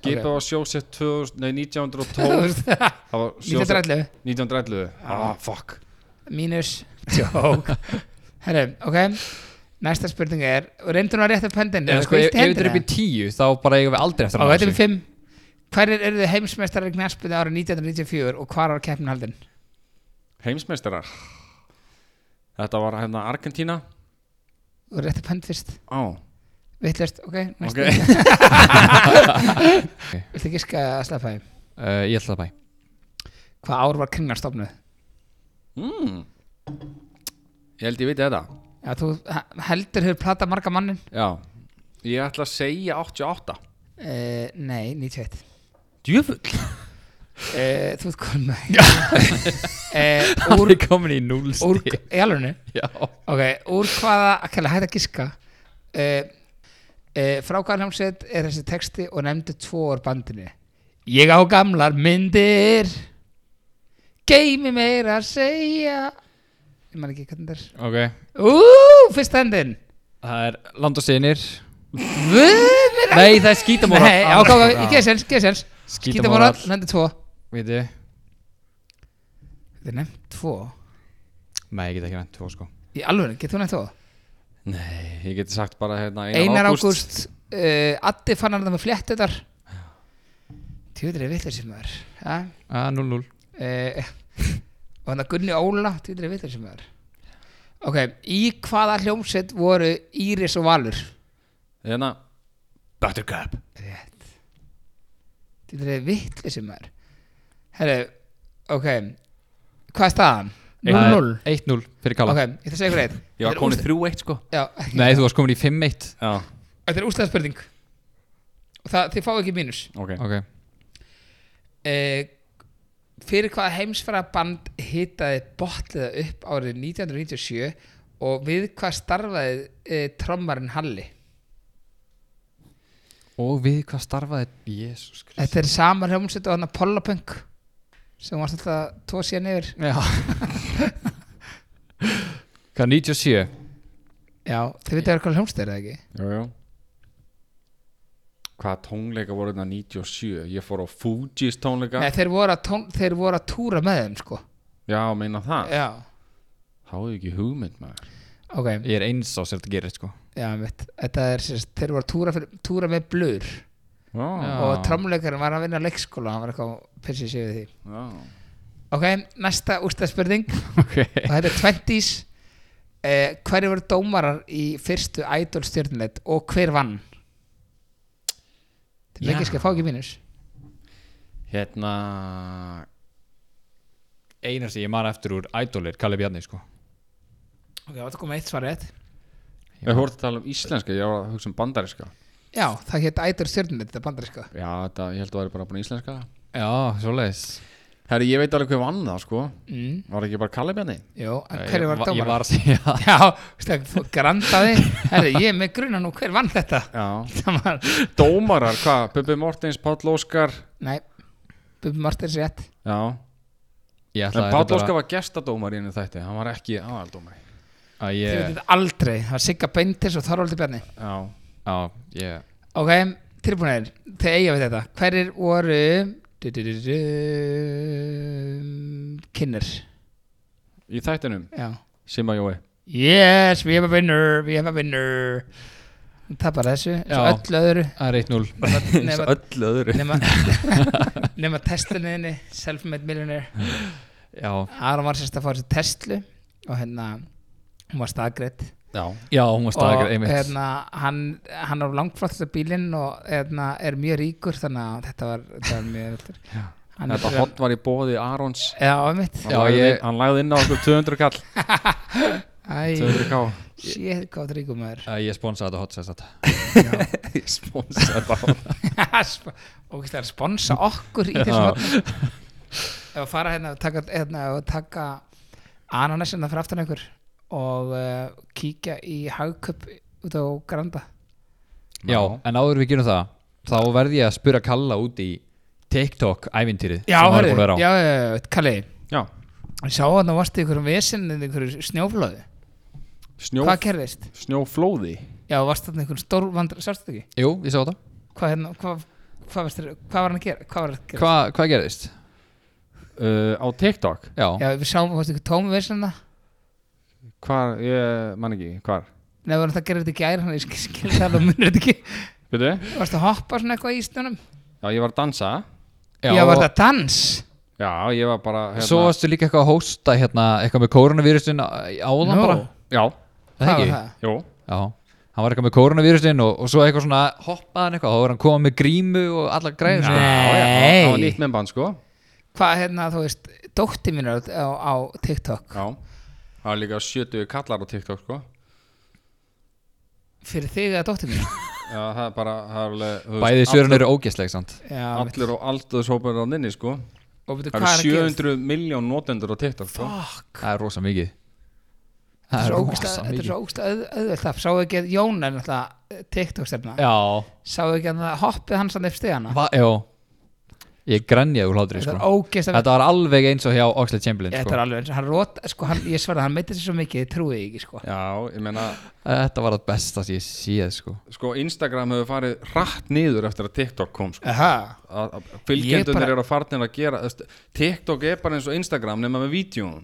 S2: Skipið var sjósett 2000 Nei, 1912
S1: skipið
S2: Það var sjósett
S1: 1911
S2: 1911 Ah, fuck
S1: Mínus Jók Herru, ok Næsta spurning er Og reyndu nú að rétta upp höndin
S3: Eða sko, ef ef þetta er upp í 10 þá bara eigum við aldrei eftir
S1: Og þetta er
S3: þessu.
S1: upp í 5 Hverjir eru þið heimsmeistarar í knarspinu árið 1994 og hvar var keppnin haldin?
S2: Heimsmeistarar Þetta var hérna Argentína
S1: Og rétt upp hönd fyrst
S2: Á
S1: Vittlust, ok,
S2: Ok
S1: næsta Viltu giska að sleppa því?
S3: Uh, Ég ætla það bæ
S1: Hvað ár var kringlan stofnuð?
S2: mm. Ég held ég viti þetta
S1: Já, þú he- heldur hefur platað marga mannin?
S2: Já Ég ætla að segja 88
S1: Uh, nei, 91
S2: Djöfull
S1: uh, Þú ert komin með uh, Úr,
S3: er komin í 0
S1: úr Í alvegni?
S3: Já
S1: Ok, úr hvaða Akkjala, hægt að giska uh, uh, Frá hvaða hljómsveit er þessi texti og nefndu tvo orð bandinu Ég á gamlar myndir Geimi meira að segja Ég man ekki hvernig þetta
S3: Ok
S1: er Ú, fyrst hendin
S3: Það er land og sinir
S1: Vöð mér
S3: Nei, það er Ah, skítamóra
S1: Nei, já, ok, ok, ég geði sens, geði sens Skítamóra,
S3: Skítamóra
S1: nefndu tvo
S3: Veitu
S1: Þetta er nefnd tvo
S3: Nei, ég get ekki nætt 2 sko
S1: Í alveg, getur þú nefnt tvo?
S2: Nei, ég geti sagt bara hérna
S1: Einar Ágúst uh, Addi fann hann það með fléttuðar Tjóður er vitleir sem maður ja?
S3: Ah, 0-0
S1: uh, Og hann að Gunni Óla Tjóður er vitleir sem maður Ok, í hvaða hljómsveit voru Íris og Valur?
S2: Hérna Buttercup
S1: Rétt Tjóður er vitleir sem maður herri, ok hvað er staðan?
S3: Nei,
S1: 0-0
S3: 1-0 fyrir
S1: ok,
S3: Kalla
S1: ég ætla að segja ykkur eitt
S2: Ég var komin í 3-1 sko
S3: Nei, þú varst komin í 5-1
S2: Já,
S1: þetta er úslega spurning og það, þið fá ekki mínus
S2: ok
S3: okay.
S1: Eh, fyrir hvaða heimsfæra band hitaði botliða upp árið 1997 og við hvað starfaði e, trommarinn Halli
S3: Og við hvað starfaði Jésús
S1: Þetta er sama hljómsveit og hann að Pollapunk sem varst alltaf tvo síðan yfir
S3: Já Hvað, 97?
S1: Já, þið veitum hvað hljómsveit er það ekki
S2: Jú, jú Hvaða tónleika voru þetta 97? Ég fór á Fugees tónleika
S1: Nei, þeir voru, að tón, þeir voru að túra með þeim sko
S2: Já, meina það
S1: Já,
S2: Háðu ekki hugmynd maður
S1: ok,
S3: Ég er eins á sér þetta gerir sko
S1: já, mitt Þetta er, sérst, þeir voru að túra, fyrir, túra með blur
S2: Já,
S3: Já.
S1: og trommuleikarinn var að vinna á leikskóla hann var eitthvað að pissa sig við því
S2: já
S1: Ok, næsta úrstæðspurning
S3: Ok
S1: og þetta er 20s eh, hverju voru dómarar í fyrstu Idol stjörnuleit og hver vann þetta er
S2: Já.
S1: ekki skal fá ekki mínus
S2: Hérna
S3: Einar sem ég man eftir úr Idolir, Kalli Bjarni sko
S1: ok, það kom eitt svar rétt
S2: Ég voru að tala um íslenska, ég var að hugsa um bandariska
S1: já, það hétt Idol stjörnuleit, þetta sko. er bandariska
S2: Já, þetta, ég held að það væri bara búin íslenska
S3: Já, svoleiðis
S2: Herri, ég veit alveg hver vann það sko
S1: mm,
S2: Var ekki bara Kallibjarni?
S1: jú, en
S3: Ég
S1: hverju voru
S3: va- Ég
S1: dómarar
S3: var að segja það.
S1: já, stak, þú grandaði herri, ég er með gruna nú, hver vann þetta
S2: Já
S1: það var,
S2: Dómarar, hvað? Bubbi Mortens, Páll Óskar
S1: nei Bubi Martins rétt
S2: Já
S3: Ég
S2: En
S3: ætlaði
S2: Páll
S3: bara-
S2: Óskar var gestadómar í henni þætti Hann var ekki aðaldómari
S3: að
S1: þið veitir
S3: ég,
S1: þetta aldrei, það var Sigga Beintis og Þorvaldi Bjarni
S2: Já
S3: á, ég
S1: Ok, tilbúinir, þið eiga við þetta Hverjir voru du, du, du, du, Kynner
S2: Í þættinum
S1: Já.
S2: Sima Jói
S1: Yes, we have a winner We have a winner Hún tapar þessu, eins og
S3: Já.
S1: öllu öðru
S3: Það er 1-0
S1: nema-
S2: Eins og
S1: nema-
S2: öllu öðru
S1: Nema, nema testlunniðinni Self-made millionaire
S3: Já,
S1: Aron var sérst að fá þessu testlu og hérna, hún var staðgreitt
S2: Já
S3: já, hún var staðakar
S1: og
S3: einmitt
S1: hérna, hann, hann er langfráttast af bílinn og hérna, er mjög ríkur þannig að þetta var, þetta var mjög öllur hann
S2: Þetta hot var í bóði Arons
S1: Já, einmitt
S2: Hann
S3: Já,
S2: lagði
S3: ég-
S2: inn- Hann lagði inn á okkur 200 kall
S1: Æ,
S2: 200 ká
S1: shit, hvað það ríkum maður
S3: Að Ég sponsaði þetta hot sest
S2: Ég sponsa þetta hot
S1: Sp- Og það er að sponsa okkur í þessum hotnum Ef að fara hérna og taka, hérna, og taka ananasina fyrir aftan ykkur og uh, kíkja í hagköp út á Granda
S3: Já, en áður en við gerum það Þá verð ég að spura Kalla út í TikTok ævintýrið
S1: Já,
S3: sem hann er
S1: hörru,
S3: búin að vera á.
S1: já, já, já, Kalli
S2: Já
S1: Ég sá hann og varstu í einhverjum vesinn í einhverju snjóflóði
S2: Snjó
S1: Hvað gerðist?
S2: Snjóflóði
S1: Já, varstu hann einhverjum stór vandra, sástu þetta ekki?
S3: Jú, ég sá þetta
S1: Hvað, hérna, hvað, hvað, varstu, hvað var hann að gera? Hvað var hann að gera?
S3: Hva, Hvað gerðist?
S2: uh, Á TikTok
S3: Já,
S1: Já, við sáum, varstu ykkur tómi vesinn hérna?
S2: Hvar Ég man ekki Hvar
S1: Nei, við varum alltaf að gera þetta í gæri, hann ég skil það og munir þetta ekki.
S2: Veitu
S1: Varst að hoppa svona eitthvað í ísnunum?
S2: Já ég var að dansa
S1: Já, var það dans?
S2: Já ég var bara hérna,
S3: Svo varstu líka eitthvað að hósta hérna, eitthvað með koronavírusin áðan
S1: Nú,
S3: bara
S2: Já
S3: Það
S1: Hvað var
S3: ekki?
S1: það?
S2: Jó
S3: Já, hann var eitthvað með koronavírusin og, og svo eitthvað svona hoppaðan eitthvað þá var hann komað með grímu og alla græður sko.
S1: Nei.
S2: Já, já,
S1: Hey.
S2: Það var nýtt memband sko
S1: Hvað, hérna, þú veist, dótti mín á, á, á TikTok.
S2: Já Það var líka 70 kallar á TikTok sko
S1: Fyrir þig að dótti mín?
S2: Já það er bara það er alveg, þú veist,
S3: Bæði svörun eru ógæsleg samt
S1: Já,
S2: allir- Allir og aldurshópar á nynni sko
S1: og veitu
S2: Það
S1: hvað er
S2: eru
S1: að gera?
S2: 700 miljón notendur á TikTok sko
S1: Fuck.
S3: Það er rosa mikið
S1: Þetta er
S3: Það er
S1: svo ógeðslega-
S3: rosa
S1: þetta er
S3: mikið
S1: svo ógust auðvöld það. Sáu ekki að Jón er náttúrulega eh, TikTok-stefna.
S3: Já,
S1: Sáu ekki að það hoppið hans hann upp stegana?
S3: va, já Ég grænjaði úr hlátri
S1: Þetta er
S3: sko
S1: ógust að...
S3: Þetta var alveg eins og hjá Oxlade Chamberlain
S1: Þetta
S3: sko.
S1: er alveg eins og hann rót, sko, hann, ég sverða, hann meitir sér svo mikið, þið trúið ekki, sko.
S2: Já, ég meina
S3: Þetta var það besta sem ég séð sko.
S2: sko Instagram hefur farið rætt niður eftir að TikTok kom sko.
S1: Aha. Ég
S2: Að- að
S1: bara-
S2: fylgjendunir eru að farnir að gera þú veist, TikTok er bara eins og Instagram nema með vídjón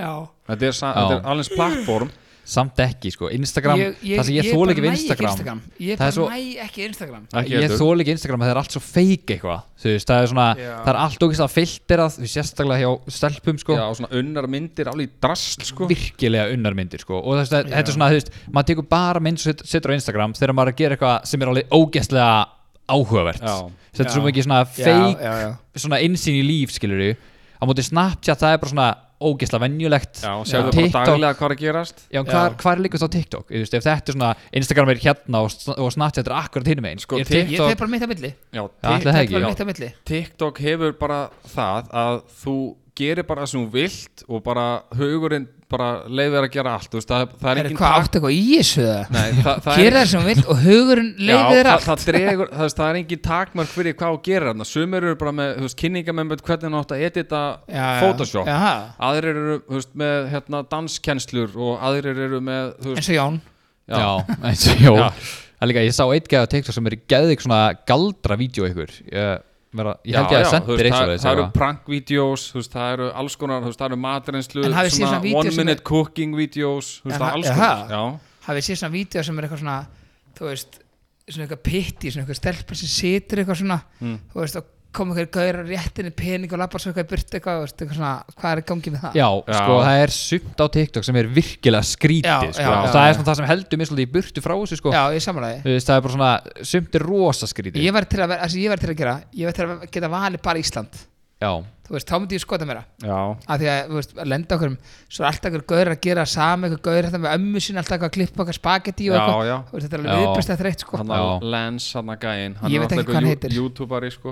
S1: Já.
S2: þetta er, sa-
S3: Já.
S2: þetta er alveg plattform
S3: Samt ekki sko. Instagram,
S1: Ég- ég-
S3: það sem ég,
S1: ég
S3: ég þóla
S1: bara
S3: ekki við
S1: næ
S3: Instagram,
S1: Instagram. Ég
S3: Það er
S1: bara
S3: svo-
S1: næ ekki Instagram.
S2: Ekki
S3: Ég
S2: heldur.
S3: þóla ekki Instagram að það er allt svo feik eitthvað Þú veist, það er svona,
S1: Já.
S3: það er allt okkur að filterað Við sérstaklega hjá stelpum sko
S2: já, og svona unnar myndir alveg í drast sko.
S3: virkilega unnarmyndir sko og þess, þetta er svona, þú veist, maður tekur bara mynd og set- setur á Instagram þegar maður er að gera eitthvað sem er alveg ógeðslega áhugavert
S2: Já.
S3: þetta er svo
S1: Já.
S3: mikið svona
S1: já,
S3: fake
S1: já, já.
S3: svona einsýn í líf skilur við á móti Snapchat það er bara svona ógeðslega venjulegt
S2: Já,
S3: Já.
S2: sjáðu bara
S3: TikTok.
S2: daglega hvað er að gerast
S3: Já, hvað,
S1: Já.
S3: hvað er líkast á TikTok? Þú veist, ef þetta er svona Instagram er hérna og, sn- og Snapchat er akkurat hinum einn
S2: Sko,
S3: er
S2: Tik-
S1: Ég
S3: TikTok,
S1: fer bara mitt að milli
S2: Já,
S3: Já,
S2: Tik-
S3: ætli það
S1: Ég
S3: ekki,
S1: fer bara
S3: já.
S1: mitt að milli
S2: TikTok hefur bara það að þú gerir bara það sem þú vilt og bara hugurinn bara leifir að gera allt þú veist, það, það er
S1: Er
S2: engin
S1: hvað
S2: takt
S1: áttu eitthvað í þessu það?
S2: Nei, það, það
S1: Gera það sem þú vilt og hugurinn leiði
S2: Já,
S1: þér
S2: það,
S1: allt
S2: það, dregur, það, veist, það er engin takmark fyrir hvað þú gerir þarna Sumir eru bara með þú veist, kynningar með með hvernig hann átt að edita
S1: Já, já.
S2: Photoshop
S1: Jaha.
S2: Aðrir eru þú veist, með hérna, danskennslur og aðrir eru með þú veist,
S1: Eins og Jón
S2: Já.
S3: Já, eins og jó
S2: Já.
S3: Það er líka, ég sá eitt gæði á TikTok sem er geðið svona galdra vídeo ykkur Ég, vera, ég held ég að
S2: þú
S3: senda
S2: veist,
S3: þér eins og
S2: það,
S3: þess
S2: það eru prankvídeós þú veist, það eru alls konar, þú veist, það eru matrenslu
S1: En hafið þið séð svona vídeó
S2: one
S1: sem
S2: minute cooking vídeós þú veist,
S1: Jaha,
S2: það er alls
S1: jaha.
S2: konar já.
S1: hafið séð svona vídeo sem er eitthvað svona þú veist, svona eitthvað pitti svona eitthvað stelpa sem situr eitthvað svona
S3: Mm.
S1: þú veist, og koma eitthvað gauður að réttinni pening og labbar svo eitthvað í burt eitthvað, þú veist, eitthvað svona, hvað er í gangi með það?
S3: Já,
S2: Já.
S3: sko, það er sumt á TikTok sem er virkilega skrítið,
S1: Já,
S3: sko
S1: já,
S3: og
S1: já,
S3: það
S1: já.
S3: er svona það sem heldur mér svolítið í burtu frá þessu, sko
S1: Já, ég samanlega
S3: Þú veist, Það er bara svona, sumt er rosa skrítið
S1: Ég var til að vera, það sem ég var til að gera ég var til að geta valið bara Ísland
S3: Já,
S1: þú veist, þá myndi ég skota mér
S2: Já,
S1: að því að, þú veist, að lenda okkur um svo er alltaf okkur gauður að gera sami okkur gauður þetta með ömmu sín, alltaf okkur að klippa okkur spagetti og
S2: Já,
S1: eitthvað,
S2: já.
S1: þú veist, þetta er
S3: Já.
S1: alveg viðbyrsta þreytt sko.
S2: hann
S3: Já.
S2: að Lens, hann að gæinn Hann
S1: Ég
S2: er
S1: veit
S2: alltaf
S1: ekki hvað hann
S2: eitthvað
S1: heitir.
S2: jú- youtuberi sko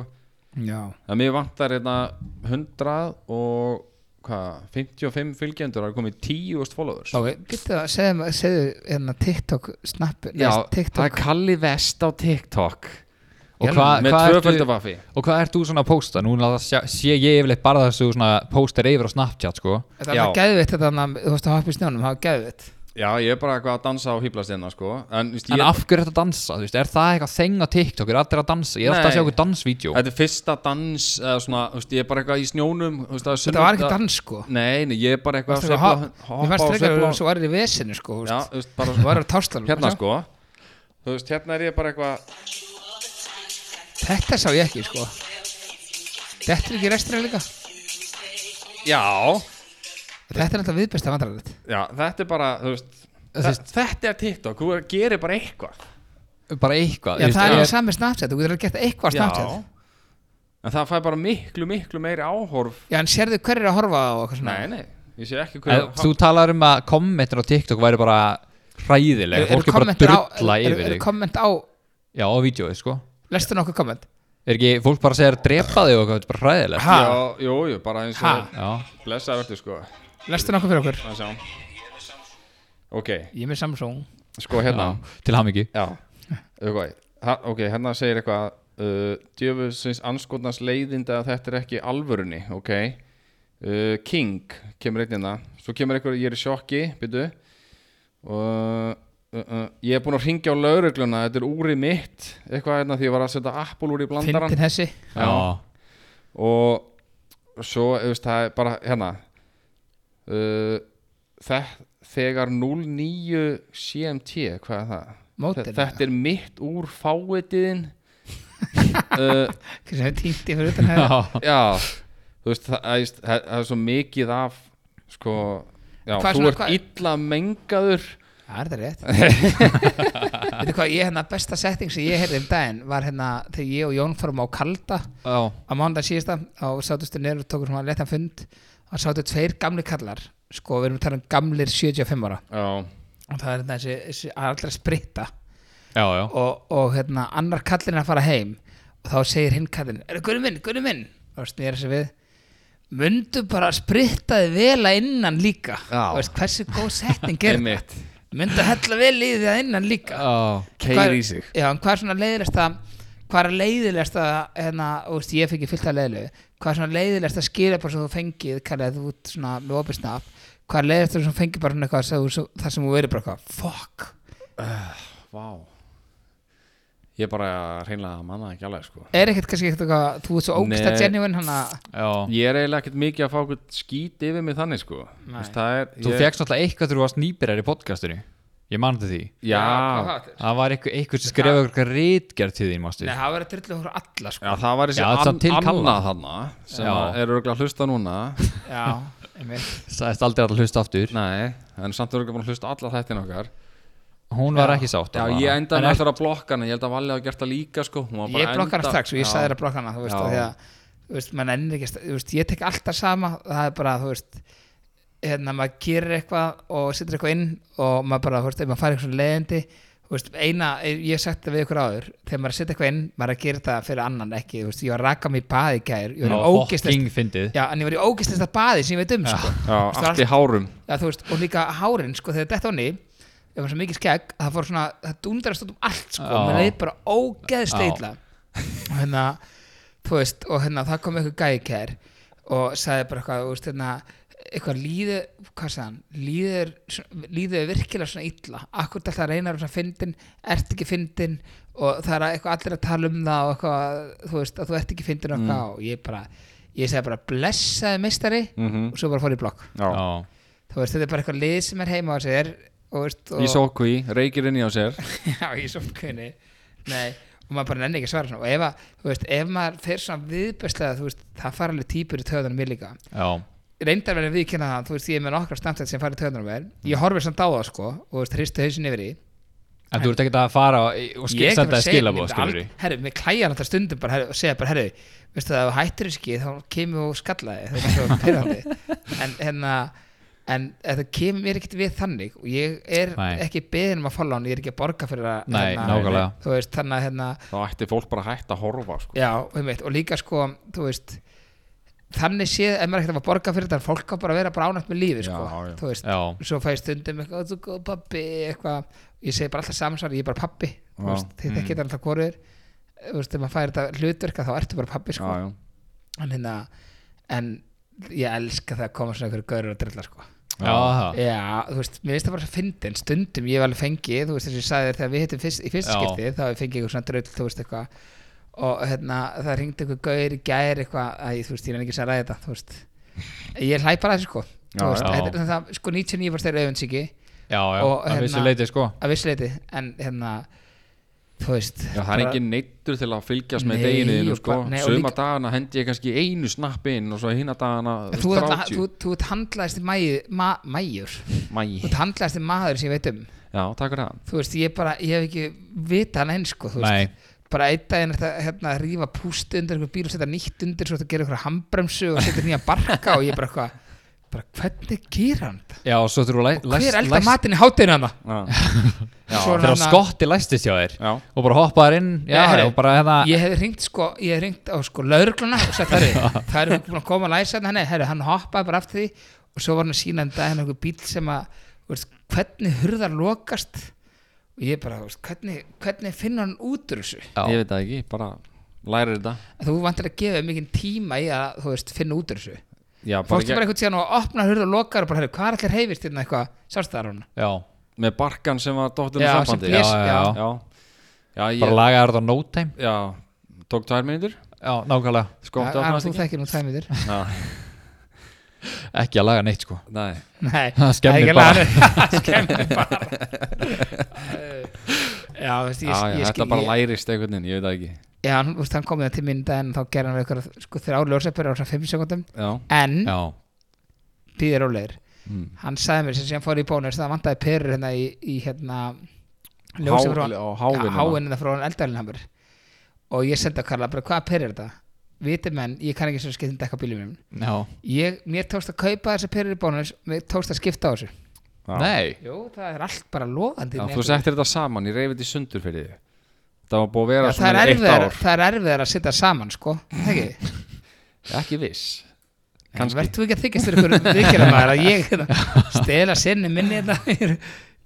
S1: Já,
S2: En mér vantar hérna 100 og hvað, 55 fylgjendur Það er komið 10.000 followers
S1: ok, getur það, segðu, segðu hérna TikTok snappi,
S2: Já,
S1: TikTok
S2: það er Kalli Vest á TikTok
S3: og
S1: Ég-
S3: hvað
S2: Með
S3: hva
S2: tvöföldu
S3: ertu,
S2: vaffi
S3: og hvað ert þú svona að pósta? Nú náttúrulega sjá- sé ég yfirleitt bara þessu svona póster yfir á Snapchat, sko
S1: Þetta er alveg geðvitt þetta þannig að þú veist að hoppa í snjónum, það er geðvitt.
S2: Já, ég er bara eitthvað að dansa á hýblastinna sko En, víst,
S3: En
S2: ég,
S3: af hverju er þetta að dansa? Þú veist, er það eitthvað þeng á TikTok? Er allir að dansa? Ég er alltaf að
S2: Nei.
S3: sjá okkur dansvídjó
S2: þetta er fyrsta dans eða svona, þú veist, ég er bara eitthvað í snjónum þú veist, það er
S1: Þetta var ekki
S2: sunnudag-
S1: dans sko.
S2: Nei, nei, ég er bara eitthvað
S1: Varstu eitthvað Mér
S2: sveifla-
S1: fannst
S2: og
S1: frekar
S2: sveifla-
S1: að þú varir í vesinu sko. þú
S2: Já,
S1: veist.
S2: þú veist, bara
S1: Þú varir á táslanum.
S2: Hérna
S1: sjá.
S2: sko Þú veist, hérna er ég bara eitthvað
S1: Þetta sá ég ekki sko. Þetta er ekki restina líka.
S2: Já,
S1: Þetta er alltaf viðbesta vandrarlegt.
S2: Já, þetta er bara, þú veist þa- Þetta er TikTok, þú gerir bara eitthvað
S3: Bara
S1: Já,
S3: eitthvað þú veist,
S1: það er
S3: ég-
S1: alveg sami snapset. Þú getur alveg gett eitthvað á snapset.
S2: En það fæ bara miklu, miklu meiri áhorf
S1: Já, en sérðu hver er að horfa á okkur svona?
S2: Nei, nei, ég sé ekki
S3: En
S2: hvað
S3: Þú talar um að kommentin á TikTok væri bara hræðileg
S1: Eru- eru
S3: Fólk er bara að
S1: kommentar á-
S3: drulla
S1: eru-
S3: yfir
S1: Eru
S3: þig
S1: komment á,
S3: Já, á vídjói, sko
S1: lestu nokkuð komment?
S3: Er ekki, fólk bara segir að drepa þig og eitthvað, þetta er bara hræðilegt
S1: Ha?
S2: Já, jú, jú, bara eins og
S1: Ha?
S3: Já,
S2: Blessa verður sko
S1: Lestu nokkuð fyrir okkur?
S2: Það sjá Ok,
S1: Ég er með Samsung.
S2: sko hérna
S3: já, til hamingju
S2: Já, okay. Ha, ok, hérna segir eitthvað uh, Djöfusins anskotnars leiðindi að þetta er ekki alvörunni, ok uh, King kemur einn hérna Svo kemur eitthvað, ég er í sjokki, byrju og Uh, uh, ég er búin að ringja á laurugluna þetta er úrið mitt, eitthvað hérna því ég var að setja Apple úr í blandaran
S1: Fyndin þessi.
S2: Já. og svo þú veist, það er bara hérna uh, þe þegar 09 CMT, hvað er það? Þe-
S1: Mótin.
S2: Þetta er mitt úr fáiðin uh,
S1: Hversu hefur týnt ég fyrir utan hérna.
S3: Já,
S1: hefur.
S3: já.
S2: Já Þú veist, það, það, það, það er svo mikið af sko, já,
S1: Hvað er
S2: þú
S1: svona-
S2: ert
S1: hvað-
S2: illa mengaður
S1: Það er það rétt Veitu hvað, ég hérna besta setting sem ég heyrði um daginn var hérna þegar ég og Jón fórum á Kalda
S3: já.
S1: á mándag síðasta og sátustu niður og tókum svona letan fund og sátu tveir gamli kallar sko við erum að tala um gamlir 75 ára
S2: Já,
S1: og það er hérna þessi, þessi allra spritta
S3: já, já.
S1: og, og hérna annar kallin er að fara heim og þá segir hinn kallin er það gurri minn, gurri minn og snýra sér við mundu bara að spritta þið vel að innan líka
S2: Já.
S1: Þú veist, hversu góð setting er þetta?
S2: einmitt
S1: myndu að hella vel í þið að innan líka
S3: já.
S1: Hvað er-
S2: Keir í sig
S1: Já, en hvað er svona leiðilegsta hvað er leiðilegsta hérna, og veist, ég fengi fyllt af leiðilegu hvað er svona leiðilegsta skilabara sem þú fengið kallið þú út svona með opið snap hvað er leiðilegsta sem þú fengið bara svona eitthvað sem þú- sem- þar sem þú verið bara eitthvað, fuck
S2: Vá Ég bara reynlega manna ekki alveg sko
S1: er ekkert kannski eitthvað, þú ert svo ógsta
S2: Nei.
S1: genuine hann að,
S3: já.
S2: Ég er eiginlega ekkert mikið að fá okkur skít yfir mig þannig sko Þú
S1: Nei.
S2: veist, það er,
S3: Þú
S2: ég,
S3: fegst náttúrulega eitthvað þegar þú varst nýbyrjar í podcastinu Ég mann til því
S2: Já,
S1: hvað það er?
S3: Það var eitthvað, eitthvað sem skrifa eitthvað rítgerð til þín, mástu
S1: Nei, það verður að drullu okkur alla sko.
S2: já, það var þessi
S3: Já, þetta er
S2: an,
S3: til Kalla.
S2: annað þarna sem
S3: Já.
S2: að er örgulega að hlusta núna
S1: já, einmitt
S3: Sæðist aldrei að hlusta aftur
S2: Nei, en samt erum við búin að hlusta alla þættin okkar
S3: hún var
S1: Já.
S3: ekki sátt
S2: Já, ég endaði með alltaf að blokka hana, ég held að Valli hafa gert það líka sko Hún var bara
S1: ég blokkar hana
S2: enda-
S1: strax og ég
S2: Já.
S1: sagði þér að blokka hana þú veist,
S2: Já.
S1: af því að, þú veist, mann ennir ekki að sta- þú veist, ég tek alltaf sama, það er bara þú veist, hérna maður gerir eitthvað og setur eitthvað inn og maður bara, þú veist, ef maður fari eitthvað leiðindi þú veist, eina, ég hef sagt það við ykkur áður þegar maður setur eitthvað inn, maður er að gera það fyrir annan ekki, þú veist, ég var að raka mig í baði í gær ég var í ógistast,
S3: Fucking fyndið
S1: já, en ég var í ógistast að baði sem ég veit um, sko
S2: Já,
S1: Þú veist,
S2: allt í hárum
S1: Já, þú veist, og líka hárin, sko, þegar þetta honni ef maður svo mikið skegg, það fór svona það dundrast út um allt, sko,
S3: Já.
S1: maður leið bara ógeðslega
S3: Já.
S1: illa og hérna, þú veist, og hérna það kom eitthvað gækær og sagði bara eitthvað, þú veist, hérna eitthvað líður, hvað sagði hann líður, svona- líður þér virkilega svona illa akkur alltaf að reyna að vera svona fyndin ert ekki fyndin og það er að eitthvað allir að tala um það og eitthvað, þú veist, að þú ert ekki fyndin og, mm. og ég bara, ég segi bara blessaði meistari
S3: Mm.
S2: Mhm.
S1: og svo bara fór í blokk
S2: Já,
S3: Já.
S1: þú veist, þetta er bara eitthvað lið sem er heima á sér og veist, og,
S2: í sókví, reykir inn í á sér
S1: já, í sófkunni nei, og maður bara nenni ekki að svara svona og ef, að, þú veist, ef maður fer svona viðbærslega þú veist, það fara alveg típur í töðunum mér líka
S3: Já.
S1: reyndar verður við kynna það, þú veist, ég er með nokkra stamtætt sem fara í töðunum mér, ég horfir samt á það sko og þú veist, hristu hausin yfir í
S3: En þú ert ekkert að fara og- og skil-
S1: Ég
S3: senda
S1: bara
S3: það
S1: segja-
S3: skilabóð
S1: myndi
S3: skilur
S1: ald- herru, mér klæjar alltaf stundum bara herru, og segja bara, herru, veistu það, ef þú hættir ekki þá kemur og skallaði það er svo pyrrandi en hérna en þetta kemur mér ekkert við þannig og ég er
S3: Nei.
S1: ekki beðin um að follow hann ég er ekki að borga fyrir að hérna,
S3: Nei, nákvæmlega.
S1: þú veist, þannig að hérna
S2: Þá ætti fólk bara að hætta að horfa sko
S1: já, um og líka sko, þú veist þannig séð, ef maður ekkert að borga fyrir þetta fólk á bara að vera bránætt með lífi sko,
S2: Já, já.
S1: þú veist,
S3: Já,
S1: svo fæ ég stundum eitthvað, þú góð pappi, eitthvað ég segi bara alltaf samsvar, ég er bara pappi þú
S2: Já.
S1: veist, þetta mm. getur alltaf hvorur þú veist, ef maður fær þetta hlutverka þá ertu bara pappi sko.
S2: Já, já,
S1: en hérna en ég elska það að koma svona einhverju gaurur að drilla sko.
S3: já, það.
S1: já, þú veist, mér finnst það bara svo fyndin stundum ég hef alveg fengið, þú veist, þess að ég sagði þér þegar við hittum fyrst, í fyrsta
S3: Já.
S1: skipti þá hef ég fengið eitthvað svona drull, þú veist, eitthvað og hérna, það ringdi einhver gaur í gær eitthvað, að ég, þú veist, ég er ekki að ræða þetta, þú veist ég hlæ bara að þessu sko
S2: Já,
S1: Þú veist,
S3: já.
S1: þetta er það, sko 99% auðvinsíki
S3: já, já,
S1: Og
S3: að vissi
S1: hérna-
S3: leiti sko
S1: að vissuleiti en hérna þú veist
S2: Já, það er engin neittur til að fylgjast með
S1: Nei,
S2: deginu þínu,
S1: og
S2: sko.
S1: bara- nei, og
S2: Suma
S1: líka-
S2: dagana hendi ég kannski einu snapp inn og svo hina dagana
S1: En þú, þú, þú, þú ert handlaðist ma, mæjur þú
S2: Mæ,
S1: ert handlaðist maður sem ég veit um
S2: já, takk fyrir það
S1: þú veist ég bara, ég hef ekki vita hann eins sko, þú veist.
S3: Nei,
S1: bara einn daginn er þetta hérna að rífa púst undir einhver bíl og setja nýtt undir svo þetta gerir einhverja hambremsu og setja nýja barka og ég bara eitthvað bara hvernig gera hann þetta?
S3: já, og svo þurfum við
S1: og hver elda matinn í hátinu hann
S2: Já, Já,
S1: Svo er
S3: Þegar
S1: hann að-
S3: skotti læstist hjá þér
S2: já,
S3: og bara hoppaðar inn já,
S1: Nei,
S3: já,
S1: herri,
S3: og bara hérna
S1: ég hef hringt sko, ég hef hringt á sko laurugluna og sagt herri, það eru búin að koma að læsa hann, herri, hann hoppaði bara aftur því og svo var hann að sína en dag hann einhver bíl sem að, þú veist, hvernig hurðar lokast og ég bara, þú veist, hvernig, hvernig finna hann út úr þessu
S3: Já.
S2: ég veit það ekki, bara lærir þetta
S1: þú vantar að gefa mikið tíma í að, þú veist, finna út úr þessu
S2: Já, bara
S1: fórstu
S2: ekki,
S1: bara einhvern tíðan og opna hurð og lokar og bara, herri, hvað er allir heifist hérna eitthvað, sást það hann
S3: já,
S2: með barkan sem var dóttunum
S1: Já, sem
S2: sambandi
S1: blés-
S3: já, já,
S2: já, já,
S3: bara
S2: ég,
S3: lagaði þetta á no time
S2: já, tók tvær mínútur Sko,
S3: já, nákvæmlega,
S2: Skótti
S1: hann
S2: opnaðist
S1: þú
S2: ekki
S1: þekkir nú tæmiður
S2: Já,
S3: ekki að laga neitt sko
S2: nei,
S1: Nei,
S3: Það skemmir bara.
S1: skemmir bara Já, þú veist,
S2: já,
S1: ég,
S2: já,
S1: ég skil
S2: þetta bara lærist einhvern veginn, ég veit það ekki
S1: Já, hann, þú veist, hann kom í það til mín í dag en þá gerði hann eitthvað sko, þrjá ljósepur á svona 5 sekundum
S2: Já,
S1: en
S3: já,
S1: býðir ólegur
S2: Mm.
S1: hann sagði mér sem síðan fór í bónus það vantaði perur hérna í, í hérna ljósi frá
S2: Hmm. Há- á hávinuna.
S1: háinina frá eldarlinhamur og ég sendi að Karla bara hvaða perur er þetta viti menn, ég kann ekki um svo skiptin dekka bílum mínum
S3: já,
S1: ég, mér tókst að kaupa þessa perur í bónus mér tókst að skipta á þessu
S2: já.
S3: nei
S1: Jú, það er allt bara lofandi
S2: Já,
S1: með
S2: þú
S1: einhverju-
S2: settir þetta saman, ég reyfið þetta í sundur fyrir þig Það var búið að vera
S1: Já, það,
S2: svona
S1: er
S2: í eitt
S1: erfiðar,
S2: ár
S1: það er erfiðar að setja saman sko, ekki?
S2: Ekki viss
S1: En
S2: Kannski.
S1: verður þú ekki að þykjast fyrir ykkur vikir að maður að ég hérna, stela sinni minni þetta ég er-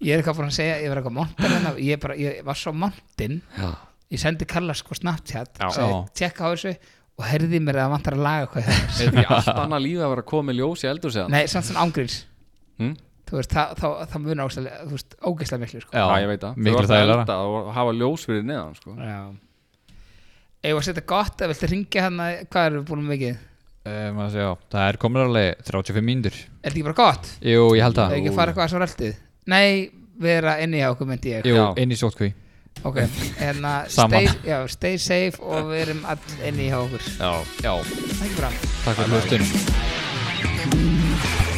S1: ég er eitthvað búin að segja, ég var eitthvað montar hérna, ég, bara, ég var svo montinn
S2: Já.
S1: ég sendi Kalla sko Snapchat
S2: Já.
S1: sagði, tjekka á þessu og herði mér að það vantar að laga eitthvað hérna.
S2: Er því allt annað lífið að vera að koma með ljós í eldur segðan?
S1: nei, samt svona ángríns
S2: Hm?
S1: þú veist, það, það, það muna ógeðslega- þú veist, ógeðslega miklu sko.
S3: já,
S2: Já, ég veit það Þú
S3: miklu
S2: varst að
S3: þægilega
S2: elda og hafa ljós fyrir neðan sko.
S1: já Eða að setja gott, eða viltu ringja hann hvað erum við búin með mikið?
S3: um, að segja, já, það er komin alveg 35
S1: Er
S3: mínútur
S1: þetta ekki bara gott?
S3: jú, ég held
S1: Það
S3: það
S1: er ekki að fara eitthvað að svo ræltið? Nei, vera inni hjá okkur myndi ég
S3: jú,
S2: Já.
S3: inn í sótkví
S1: Ok, en að
S3: Saman.
S1: stay, já, stay safe og við erum all inni hjá okkur
S2: Já
S3: já,
S1: Það er ekki bra
S3: takk fyrir hlustunum